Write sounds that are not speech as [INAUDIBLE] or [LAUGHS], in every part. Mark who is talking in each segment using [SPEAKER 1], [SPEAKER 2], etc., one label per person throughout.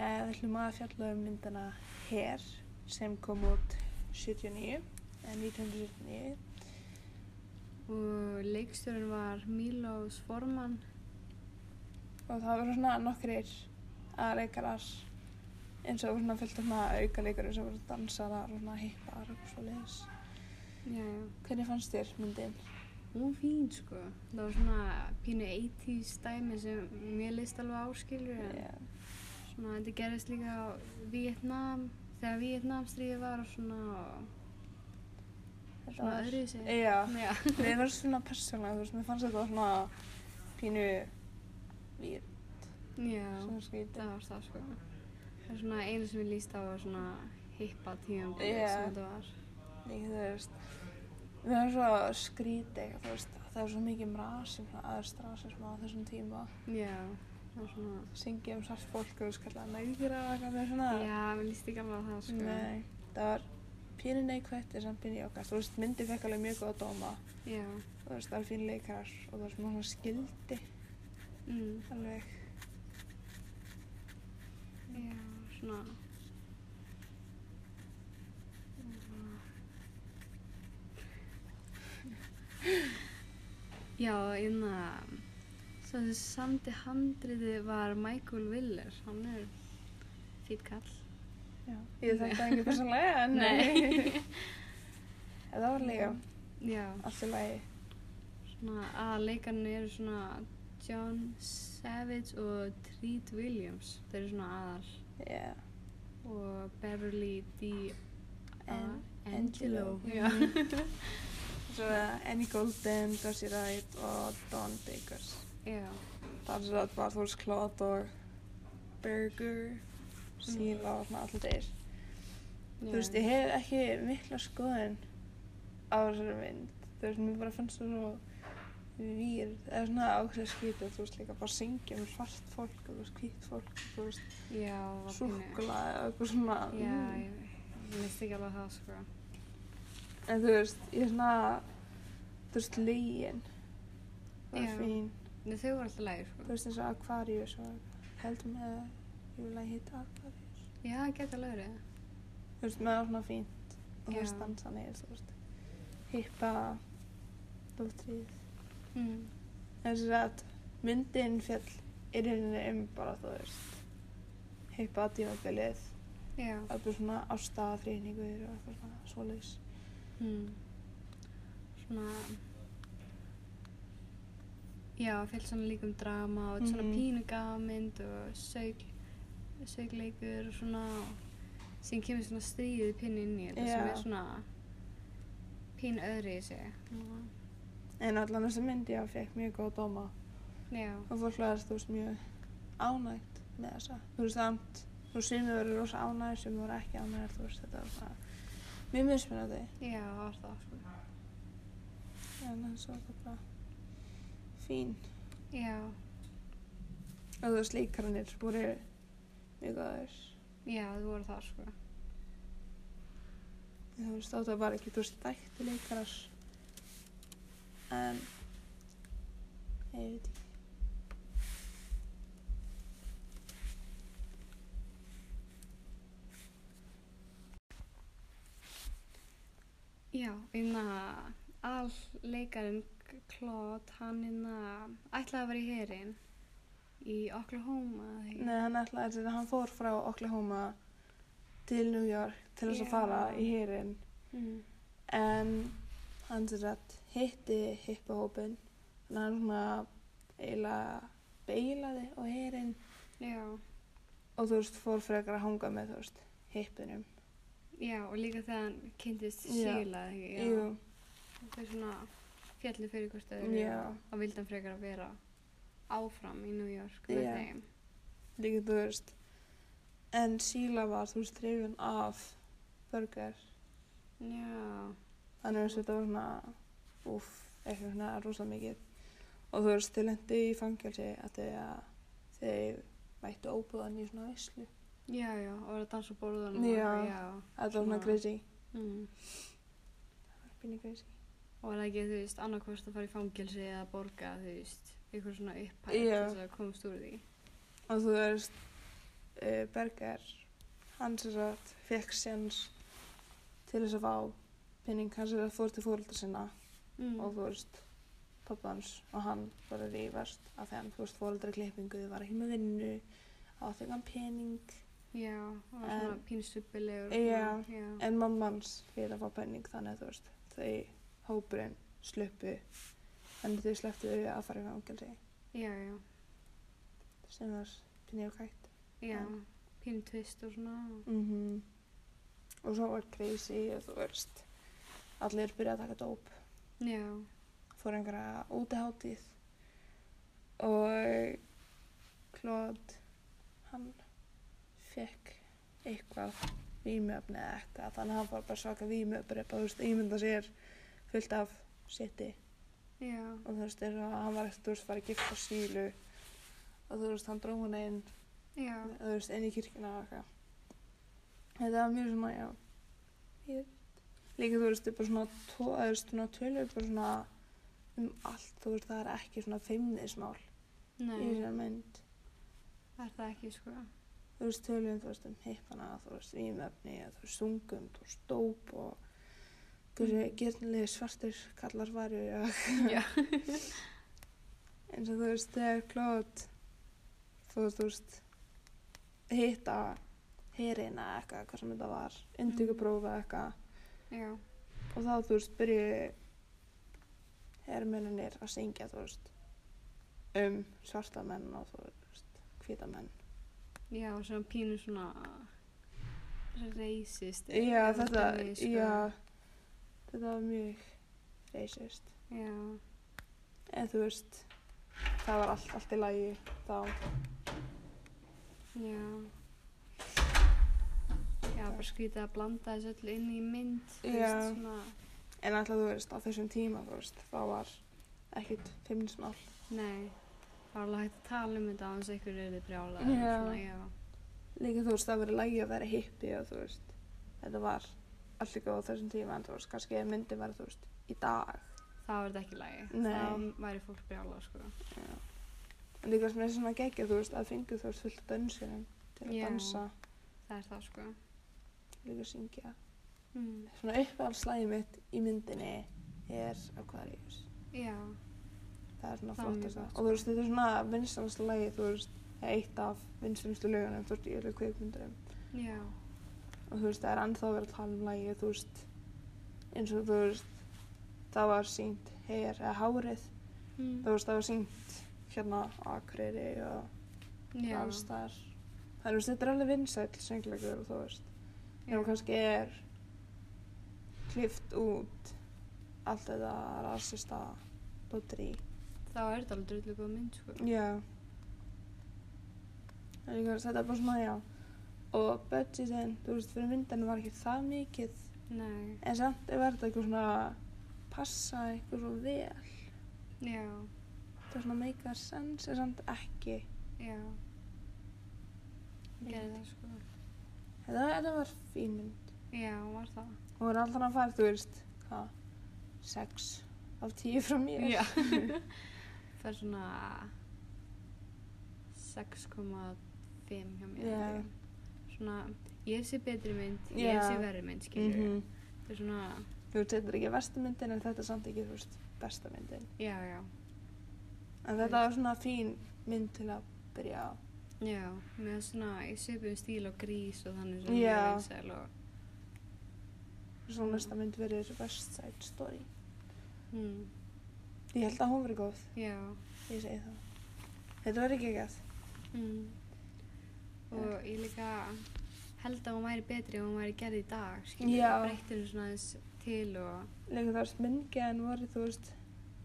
[SPEAKER 1] Eh, Við ætlum að fjalla um myndina Her sem kom út 79, eh, 1979.
[SPEAKER 2] og leikstjórinn var Milos Forman
[SPEAKER 1] Og það voru svona nokkrir aðreikarar eins og svona fyllt um að auka leikarum sem voru dansarar og svona hippar og svo leiðis.
[SPEAKER 2] já, já.
[SPEAKER 1] Hvernig fannst þér myndin?
[SPEAKER 2] hún var fín sko það var svona pínu 80s dæmi sem mér leist alveg áskilur en
[SPEAKER 1] Yeah.
[SPEAKER 2] svona þetta gerðist líka á Vietnam þegar Vietnamstríði var og svona
[SPEAKER 1] Þetta
[SPEAKER 2] svona
[SPEAKER 1] var-
[SPEAKER 2] öðruvísi.
[SPEAKER 1] Já,
[SPEAKER 2] já,
[SPEAKER 1] mér var svona persónlega, þú veist, mér fannst þetta svona pínu vír,
[SPEAKER 2] já.
[SPEAKER 1] svona skrítið.
[SPEAKER 2] það var það sko það er svona einu sem ég líst á var svona hippa tíum
[SPEAKER 1] Já.
[SPEAKER 2] sem þetta var
[SPEAKER 1] Líka þú veist, mér fannst svo skrítið, eitthvað, þú veist, það var svo mikið mrasum, svona aðstrasum á þessum tíma.
[SPEAKER 2] já, það var svona
[SPEAKER 1] Syngið um svart fólk og þú veist, kallaða nægir og eitthvað með svona.
[SPEAKER 2] já, mér líst ekki alveg á það sko
[SPEAKER 1] Nei, það var pínu neikvætt en samt pínu jákvætt. Þú veist, myndið fekk alveg mjög góða dóma.
[SPEAKER 2] já,
[SPEAKER 1] Þú veist, það var fín leikarar og það var smá svona skildi
[SPEAKER 2] mm.
[SPEAKER 1] alveg.
[SPEAKER 2] Já, svona Já, hérna Svo þessi samdi handriði var Michael Willer Hann er fýtt kall
[SPEAKER 1] Já. Ég þekkt það ekki persónlega en [LAUGHS] En það var líka
[SPEAKER 2] Já,
[SPEAKER 1] allt í lagi.
[SPEAKER 2] svona að leikarnir eru svona John Savage og Treat Williams Þeir eru svona aðal
[SPEAKER 1] Yeah.
[SPEAKER 2] og Beverly D.
[SPEAKER 1] An- Angelo.
[SPEAKER 2] Angelo. Já.
[SPEAKER 1] Svo er það Annie Golden, Darcy Wright og Dawn Bakers.
[SPEAKER 2] Já.
[SPEAKER 1] Darcy Wright var þú veist Claude og Burger,
[SPEAKER 2] Mm.
[SPEAKER 1] Sila og svona allir þeir. Þú veist, ég hef ekki mikla skoðun á þessari mynd. Þú veist, mér bara fannst það svo vír, eða svona ákveð skvítið, þú veist, líka bara syngja um svart fólk og þú veist, hvít fólk, og þú veist,
[SPEAKER 2] Já, var pínu-
[SPEAKER 1] súkkulaði og eitthvað svona.
[SPEAKER 2] Já,
[SPEAKER 1] mm.
[SPEAKER 2] ég ég veist ekki alveg það, sko.
[SPEAKER 1] En þú veist, ég er svona, þú veist, lögin var
[SPEAKER 2] Já.
[SPEAKER 1] fín.
[SPEAKER 2] En þau voru alltaf lægir,
[SPEAKER 1] Þú
[SPEAKER 2] sko.
[SPEAKER 1] veist, eins og Aquarius og heldum með að ég vil að hitta Aquarius.
[SPEAKER 2] Já, geta lægrið.
[SPEAKER 1] Þú veist, með það var svona fínt og þú
[SPEAKER 2] Já.
[SPEAKER 1] veist, dansa neyður, þú veist, hippa, dóttrið.
[SPEAKER 2] Mm.
[SPEAKER 1] þess að myndin fjall er henni um bara þú veist heipa tímabilið
[SPEAKER 2] Já.
[SPEAKER 1] það er bara svona ástafa þrýningur og eitthvað svona svoleiðis
[SPEAKER 2] Mm. Svona... Já, fyllt svona líka um drama og þetta svona
[SPEAKER 1] Mhm.
[SPEAKER 2] pínu gafmynd og sauk, saukleikur og svona... Síðan kemur svona stríðið pínu inn í þetta sem
[SPEAKER 1] Já.
[SPEAKER 2] er svona pínu öðri í sig.
[SPEAKER 1] en allan þessi mynd ég fekk mjög góð dóma
[SPEAKER 2] Já.
[SPEAKER 1] og fólk verðast þú veist mjög ánægt með þessa þú veist samt þú sumir verður rosa ánægir sem voru ekki ánægir þú veist þetta var svona mjög mismunandi
[SPEAKER 2] Já, var það, sko.
[SPEAKER 1] en þannig svo er þetta bara fín
[SPEAKER 2] Já.
[SPEAKER 1] og þú veist líkarnir voru mjög góðir
[SPEAKER 2] Já, þau voru það, sko.
[SPEAKER 1] En þú veist, þetta var ekki, þú veist, þætti leikarar en ég veit ekki
[SPEAKER 2] Já, einna all leikarinn Claude, hann einna ætlaði að vera í herin í Oklahoma eða ekki?
[SPEAKER 1] Nei, hann ætlaði þess að hann fór frá Oklahoma til New York til þess
[SPEAKER 2] Já.
[SPEAKER 1] að fara í hérinn
[SPEAKER 2] Mm.
[SPEAKER 1] en hann sér að hitti hippahópin þannig að hann svona eiginlega beilaði á hérinn
[SPEAKER 2] Já,
[SPEAKER 1] og þú veist, fór frekar að hanga með, þú veist, hippunum
[SPEAKER 2] já, og líka þegar hann kynntist
[SPEAKER 1] Já.
[SPEAKER 2] síla, ekki?
[SPEAKER 1] Jú,
[SPEAKER 2] Það er svona fjallu fyrir hvort öðru
[SPEAKER 1] Já.
[SPEAKER 2] og vildi hann frekar að vera áfram í New York með
[SPEAKER 1] Já.
[SPEAKER 2] þeim.
[SPEAKER 1] líka þú veist en síla var þú veist hrifin af burger
[SPEAKER 2] Já,
[SPEAKER 1] þannig að þetta var svona úff, eitthvað svona rosa mikið og þú veist þau lendi í fangelsi að þau að þau mættu óbúðan í svona veislu
[SPEAKER 2] já, já, og var að dansa á borðunum
[SPEAKER 1] Já.
[SPEAKER 2] og já.
[SPEAKER 1] þetta var svona
[SPEAKER 2] Svona-
[SPEAKER 1] crazy
[SPEAKER 2] Mm.
[SPEAKER 1] það var pínu crazy
[SPEAKER 2] Og var það ekki, þú veist, annarkvist að fara í fangelsi eða borga, þú veist, ykkur svona upphætt
[SPEAKER 1] Já.
[SPEAKER 2] þess að komast úr því.
[SPEAKER 1] og þú veist uh, Berger hann sér að fekk séns til þess að fá penning hann sér að fór til fóröldra sinna
[SPEAKER 2] mm.
[SPEAKER 1] og þú veist pappa hans og hann voru að rífast af þeim, þú veist, fóröldra klippingu var ekki með vinnu, áþekan pening
[SPEAKER 2] já, og var svona
[SPEAKER 1] En-
[SPEAKER 2] pínstupilegur
[SPEAKER 1] Já.
[SPEAKER 2] já,
[SPEAKER 1] en mamma hans fyrir að fá penning þannig að þú veist, þau hópurinn sluppu en þau slepptu að fara í fangelsi
[SPEAKER 2] já, já,
[SPEAKER 1] sem var pinni og kætt
[SPEAKER 2] já.
[SPEAKER 1] En-
[SPEAKER 2] pínu tvist og svona
[SPEAKER 1] -hmm. Og svo var crazy, þú veist, allir byrjaði að taka dóp,
[SPEAKER 2] já,
[SPEAKER 1] fór einhverja útihátíð og Klóð, hann fekk eitthvað vímöfni eða eitthvað, þannig að hann fór bara að svaka vímöfni, bara þú veist, ímynda sér fullt af seti
[SPEAKER 2] já,
[SPEAKER 1] og þú veist, eins og hann var eftir, þú veist, fara að gifta sílu og þú veist, hann dró hún inn
[SPEAKER 2] já
[SPEAKER 1] þú veist, inn í kirkina og eitthvað. Þetta var mjög svona, já, ég líka þú veist, er bara svona, tó, eða, þú veist, svona tölur bara svona um allt, þú veist, það er ekki svona feimnismál í
[SPEAKER 2] nei,
[SPEAKER 1] þessari mynd.
[SPEAKER 2] það er það ekki sko
[SPEAKER 1] Þú veist, tölum, þú veist, um hippana, þú veist, vímöfni, þú veist, sungum, þú veist, dóp og hverju
[SPEAKER 2] Mhm.
[SPEAKER 1] gerðinlega svartir kallar varu og
[SPEAKER 2] já,
[SPEAKER 1] eins og þú veist, þegar klót, þú veist, þú veist, hitta herina eitthvað, hvað sem þetta var, indíkuprófa eitthvað,
[SPEAKER 2] já,
[SPEAKER 1] og þá þú veist byrju hermennir að syngja þú veist um svarta menn og þú veist hvita menn
[SPEAKER 2] já, og svona pínu svona racist
[SPEAKER 1] já
[SPEAKER 2] eða
[SPEAKER 1] þetta
[SPEAKER 2] þannig, sko.
[SPEAKER 1] já þetta var mjög reisist
[SPEAKER 2] já,
[SPEAKER 1] en þú veist það var allt, allt í lagi þá
[SPEAKER 2] já já, bara skrítið að blanda þessu öll inn í mynd þú
[SPEAKER 1] Já.
[SPEAKER 2] veist, svona,
[SPEAKER 1] en alltaf þú veist á þessum tíma þú veist þá var ekkit fimmnismál
[SPEAKER 2] nei það var alveg hægt að tala um þetta aðeins einhverju er þið brjála
[SPEAKER 1] Já.
[SPEAKER 2] já,
[SPEAKER 1] líka þú veist það var í lagi að vera hippi og þú veist þetta var allt í góð á þessum tíma en þú veist kannski ef myndi var þú veist í dag
[SPEAKER 2] það var þetta ekki lægi
[SPEAKER 1] Nei.
[SPEAKER 2] þá væri fólk brjála sko.
[SPEAKER 1] En líka sem er svona geggja, þú veist, að fengu þú veist fullt af dönsunum til að
[SPEAKER 2] Já.
[SPEAKER 1] dansa,
[SPEAKER 2] það er það sko
[SPEAKER 1] líka syngja.
[SPEAKER 2] mm.
[SPEAKER 1] Svona uppáhaldslæðið mitt í myndinni er Aquarius.
[SPEAKER 2] já,
[SPEAKER 1] Það er svona
[SPEAKER 2] Það er mjög
[SPEAKER 1] flottast
[SPEAKER 2] gott, sko.
[SPEAKER 1] Og þú veist, þetta er svona vinstanstu lagið, þú veist, það er eitt af vinstanstu lögunum, þú veist, í öllu kveikmyndunum.
[SPEAKER 2] já,
[SPEAKER 1] Og þú veist, það er ennþá verið að tala um lagið, þú veist, eins og þú veist, það var sínt heyr eða hárið,
[SPEAKER 2] mm.
[SPEAKER 1] þú veist, það var sínt hérna á Akureyri og
[SPEAKER 2] já.
[SPEAKER 1] alls þar. Þannig, þú veist, þetta er alveg vinsæll söngleikur og þú veist,
[SPEAKER 2] já.
[SPEAKER 1] Nefnum kannski er klift út allt þetta rasista dotri.
[SPEAKER 2] þá er þetta alveg drullu góð mynd sko.
[SPEAKER 1] Já. En ég veist, þetta er bara svona, já. Og budgetin, þú veist, fyrir myndinu var ekki það mikið.
[SPEAKER 2] nei,
[SPEAKER 1] En samt er verið eitthvað svona passa eitthvað svo vel.
[SPEAKER 2] já,
[SPEAKER 1] Það er svona make a sense, en samt ekki.
[SPEAKER 2] já ég gerði það sko
[SPEAKER 1] Þetta, þetta var fín mynd.
[SPEAKER 2] já, var það
[SPEAKER 1] Hún var alltaf að fara, þú veist, hvað? Sex af tíu frá mér.
[SPEAKER 2] Já Það er svona 6,5 hjá mér
[SPEAKER 1] Já.
[SPEAKER 2] held ég. Svona, ég hef sér betri mynd Ég
[SPEAKER 1] Já.
[SPEAKER 2] hef sér verri mynd, skilur
[SPEAKER 1] Mhm.
[SPEAKER 2] Það er svona,
[SPEAKER 1] [LAUGHS] Þú veist, þetta er ekki versta myndin en þetta er samt ekki, þú veist, besta myndin.
[SPEAKER 2] já, já
[SPEAKER 1] En þetta var svona fín mynd til að byrja á.
[SPEAKER 2] Já, með svona, ég svipum stíl og grís og þannig sem
[SPEAKER 1] Já.
[SPEAKER 2] ég vinsæl og
[SPEAKER 1] Svo næsta mynd verður West Side Story.
[SPEAKER 2] mm,
[SPEAKER 1] Ég held að hún verið góð,
[SPEAKER 2] Já
[SPEAKER 1] ég segi það. Þetta verður ekki ekki
[SPEAKER 2] mm. Og ég líka held að hún væri betri ef hún væri gerð í dag, skilur
[SPEAKER 1] Já.
[SPEAKER 2] Breyttir hún svona aðeins til og
[SPEAKER 1] Líka þú veist, myndgeðin voru, þú veist,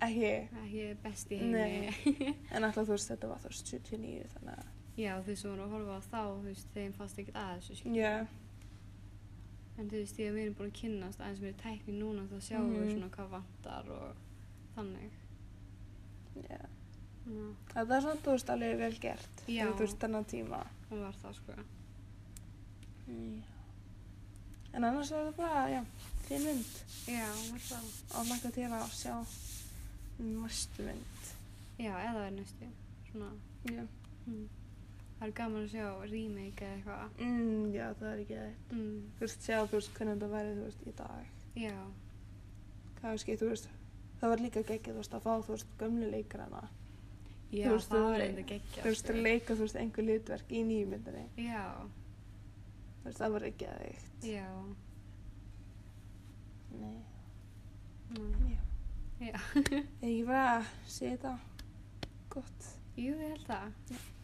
[SPEAKER 1] ekki.
[SPEAKER 2] ekki best í
[SPEAKER 1] Nei.
[SPEAKER 2] heimi [LAUGHS]
[SPEAKER 1] En alltaf, þú veist, þetta var þú veist 79, þannig að...
[SPEAKER 2] Já, þau sem voru að horfa á þá, þú veist, þeim fast ekkert að þessu, skilur.
[SPEAKER 1] Já.
[SPEAKER 2] En þú veist, ég við erum búin að kynnast aðeins mér í tækni núna, þá sjáum við
[SPEAKER 1] Mhm.
[SPEAKER 2] svona hvað vantar og þannig.
[SPEAKER 1] Já.
[SPEAKER 2] Já,
[SPEAKER 1] Það er svona, þú veist, alveg vel gert.
[SPEAKER 2] Já.
[SPEAKER 1] fyrir, Þú veist, þennan tíma.
[SPEAKER 2] hún var það, sko.
[SPEAKER 1] Já. En annars var það bara, já, fín mynd.
[SPEAKER 2] Já, hún var það.
[SPEAKER 1] Og langar til að sjá næstu mynd.
[SPEAKER 2] Já, eða er næstu, svona.
[SPEAKER 1] Já.
[SPEAKER 2] Mm. það er gaman að sjá remake eða eitthvað
[SPEAKER 1] Mm, já, það er ekki það.
[SPEAKER 2] mm,
[SPEAKER 1] Þú veist, sjá, þú veist, hvernig þetta væri, þú veist, í dag.
[SPEAKER 2] já,
[SPEAKER 1] Kannski, þú veist, það var líka geggið, þú veist, að fá, þú veist, gömlu leikarana.
[SPEAKER 2] já
[SPEAKER 1] veist,
[SPEAKER 2] það
[SPEAKER 1] það
[SPEAKER 2] er
[SPEAKER 1] er-
[SPEAKER 2] enda geggja
[SPEAKER 1] Þú veist, leika, þú veist, einhver litverk í nýju myndinni.
[SPEAKER 2] sko. já,
[SPEAKER 1] Þú veist, það var ekki að eitt.
[SPEAKER 2] já
[SPEAKER 1] Nei.
[SPEAKER 2] mm.
[SPEAKER 1] Já.
[SPEAKER 2] Já.
[SPEAKER 1] Ég bara sé þetta gott.
[SPEAKER 2] jú, ég held það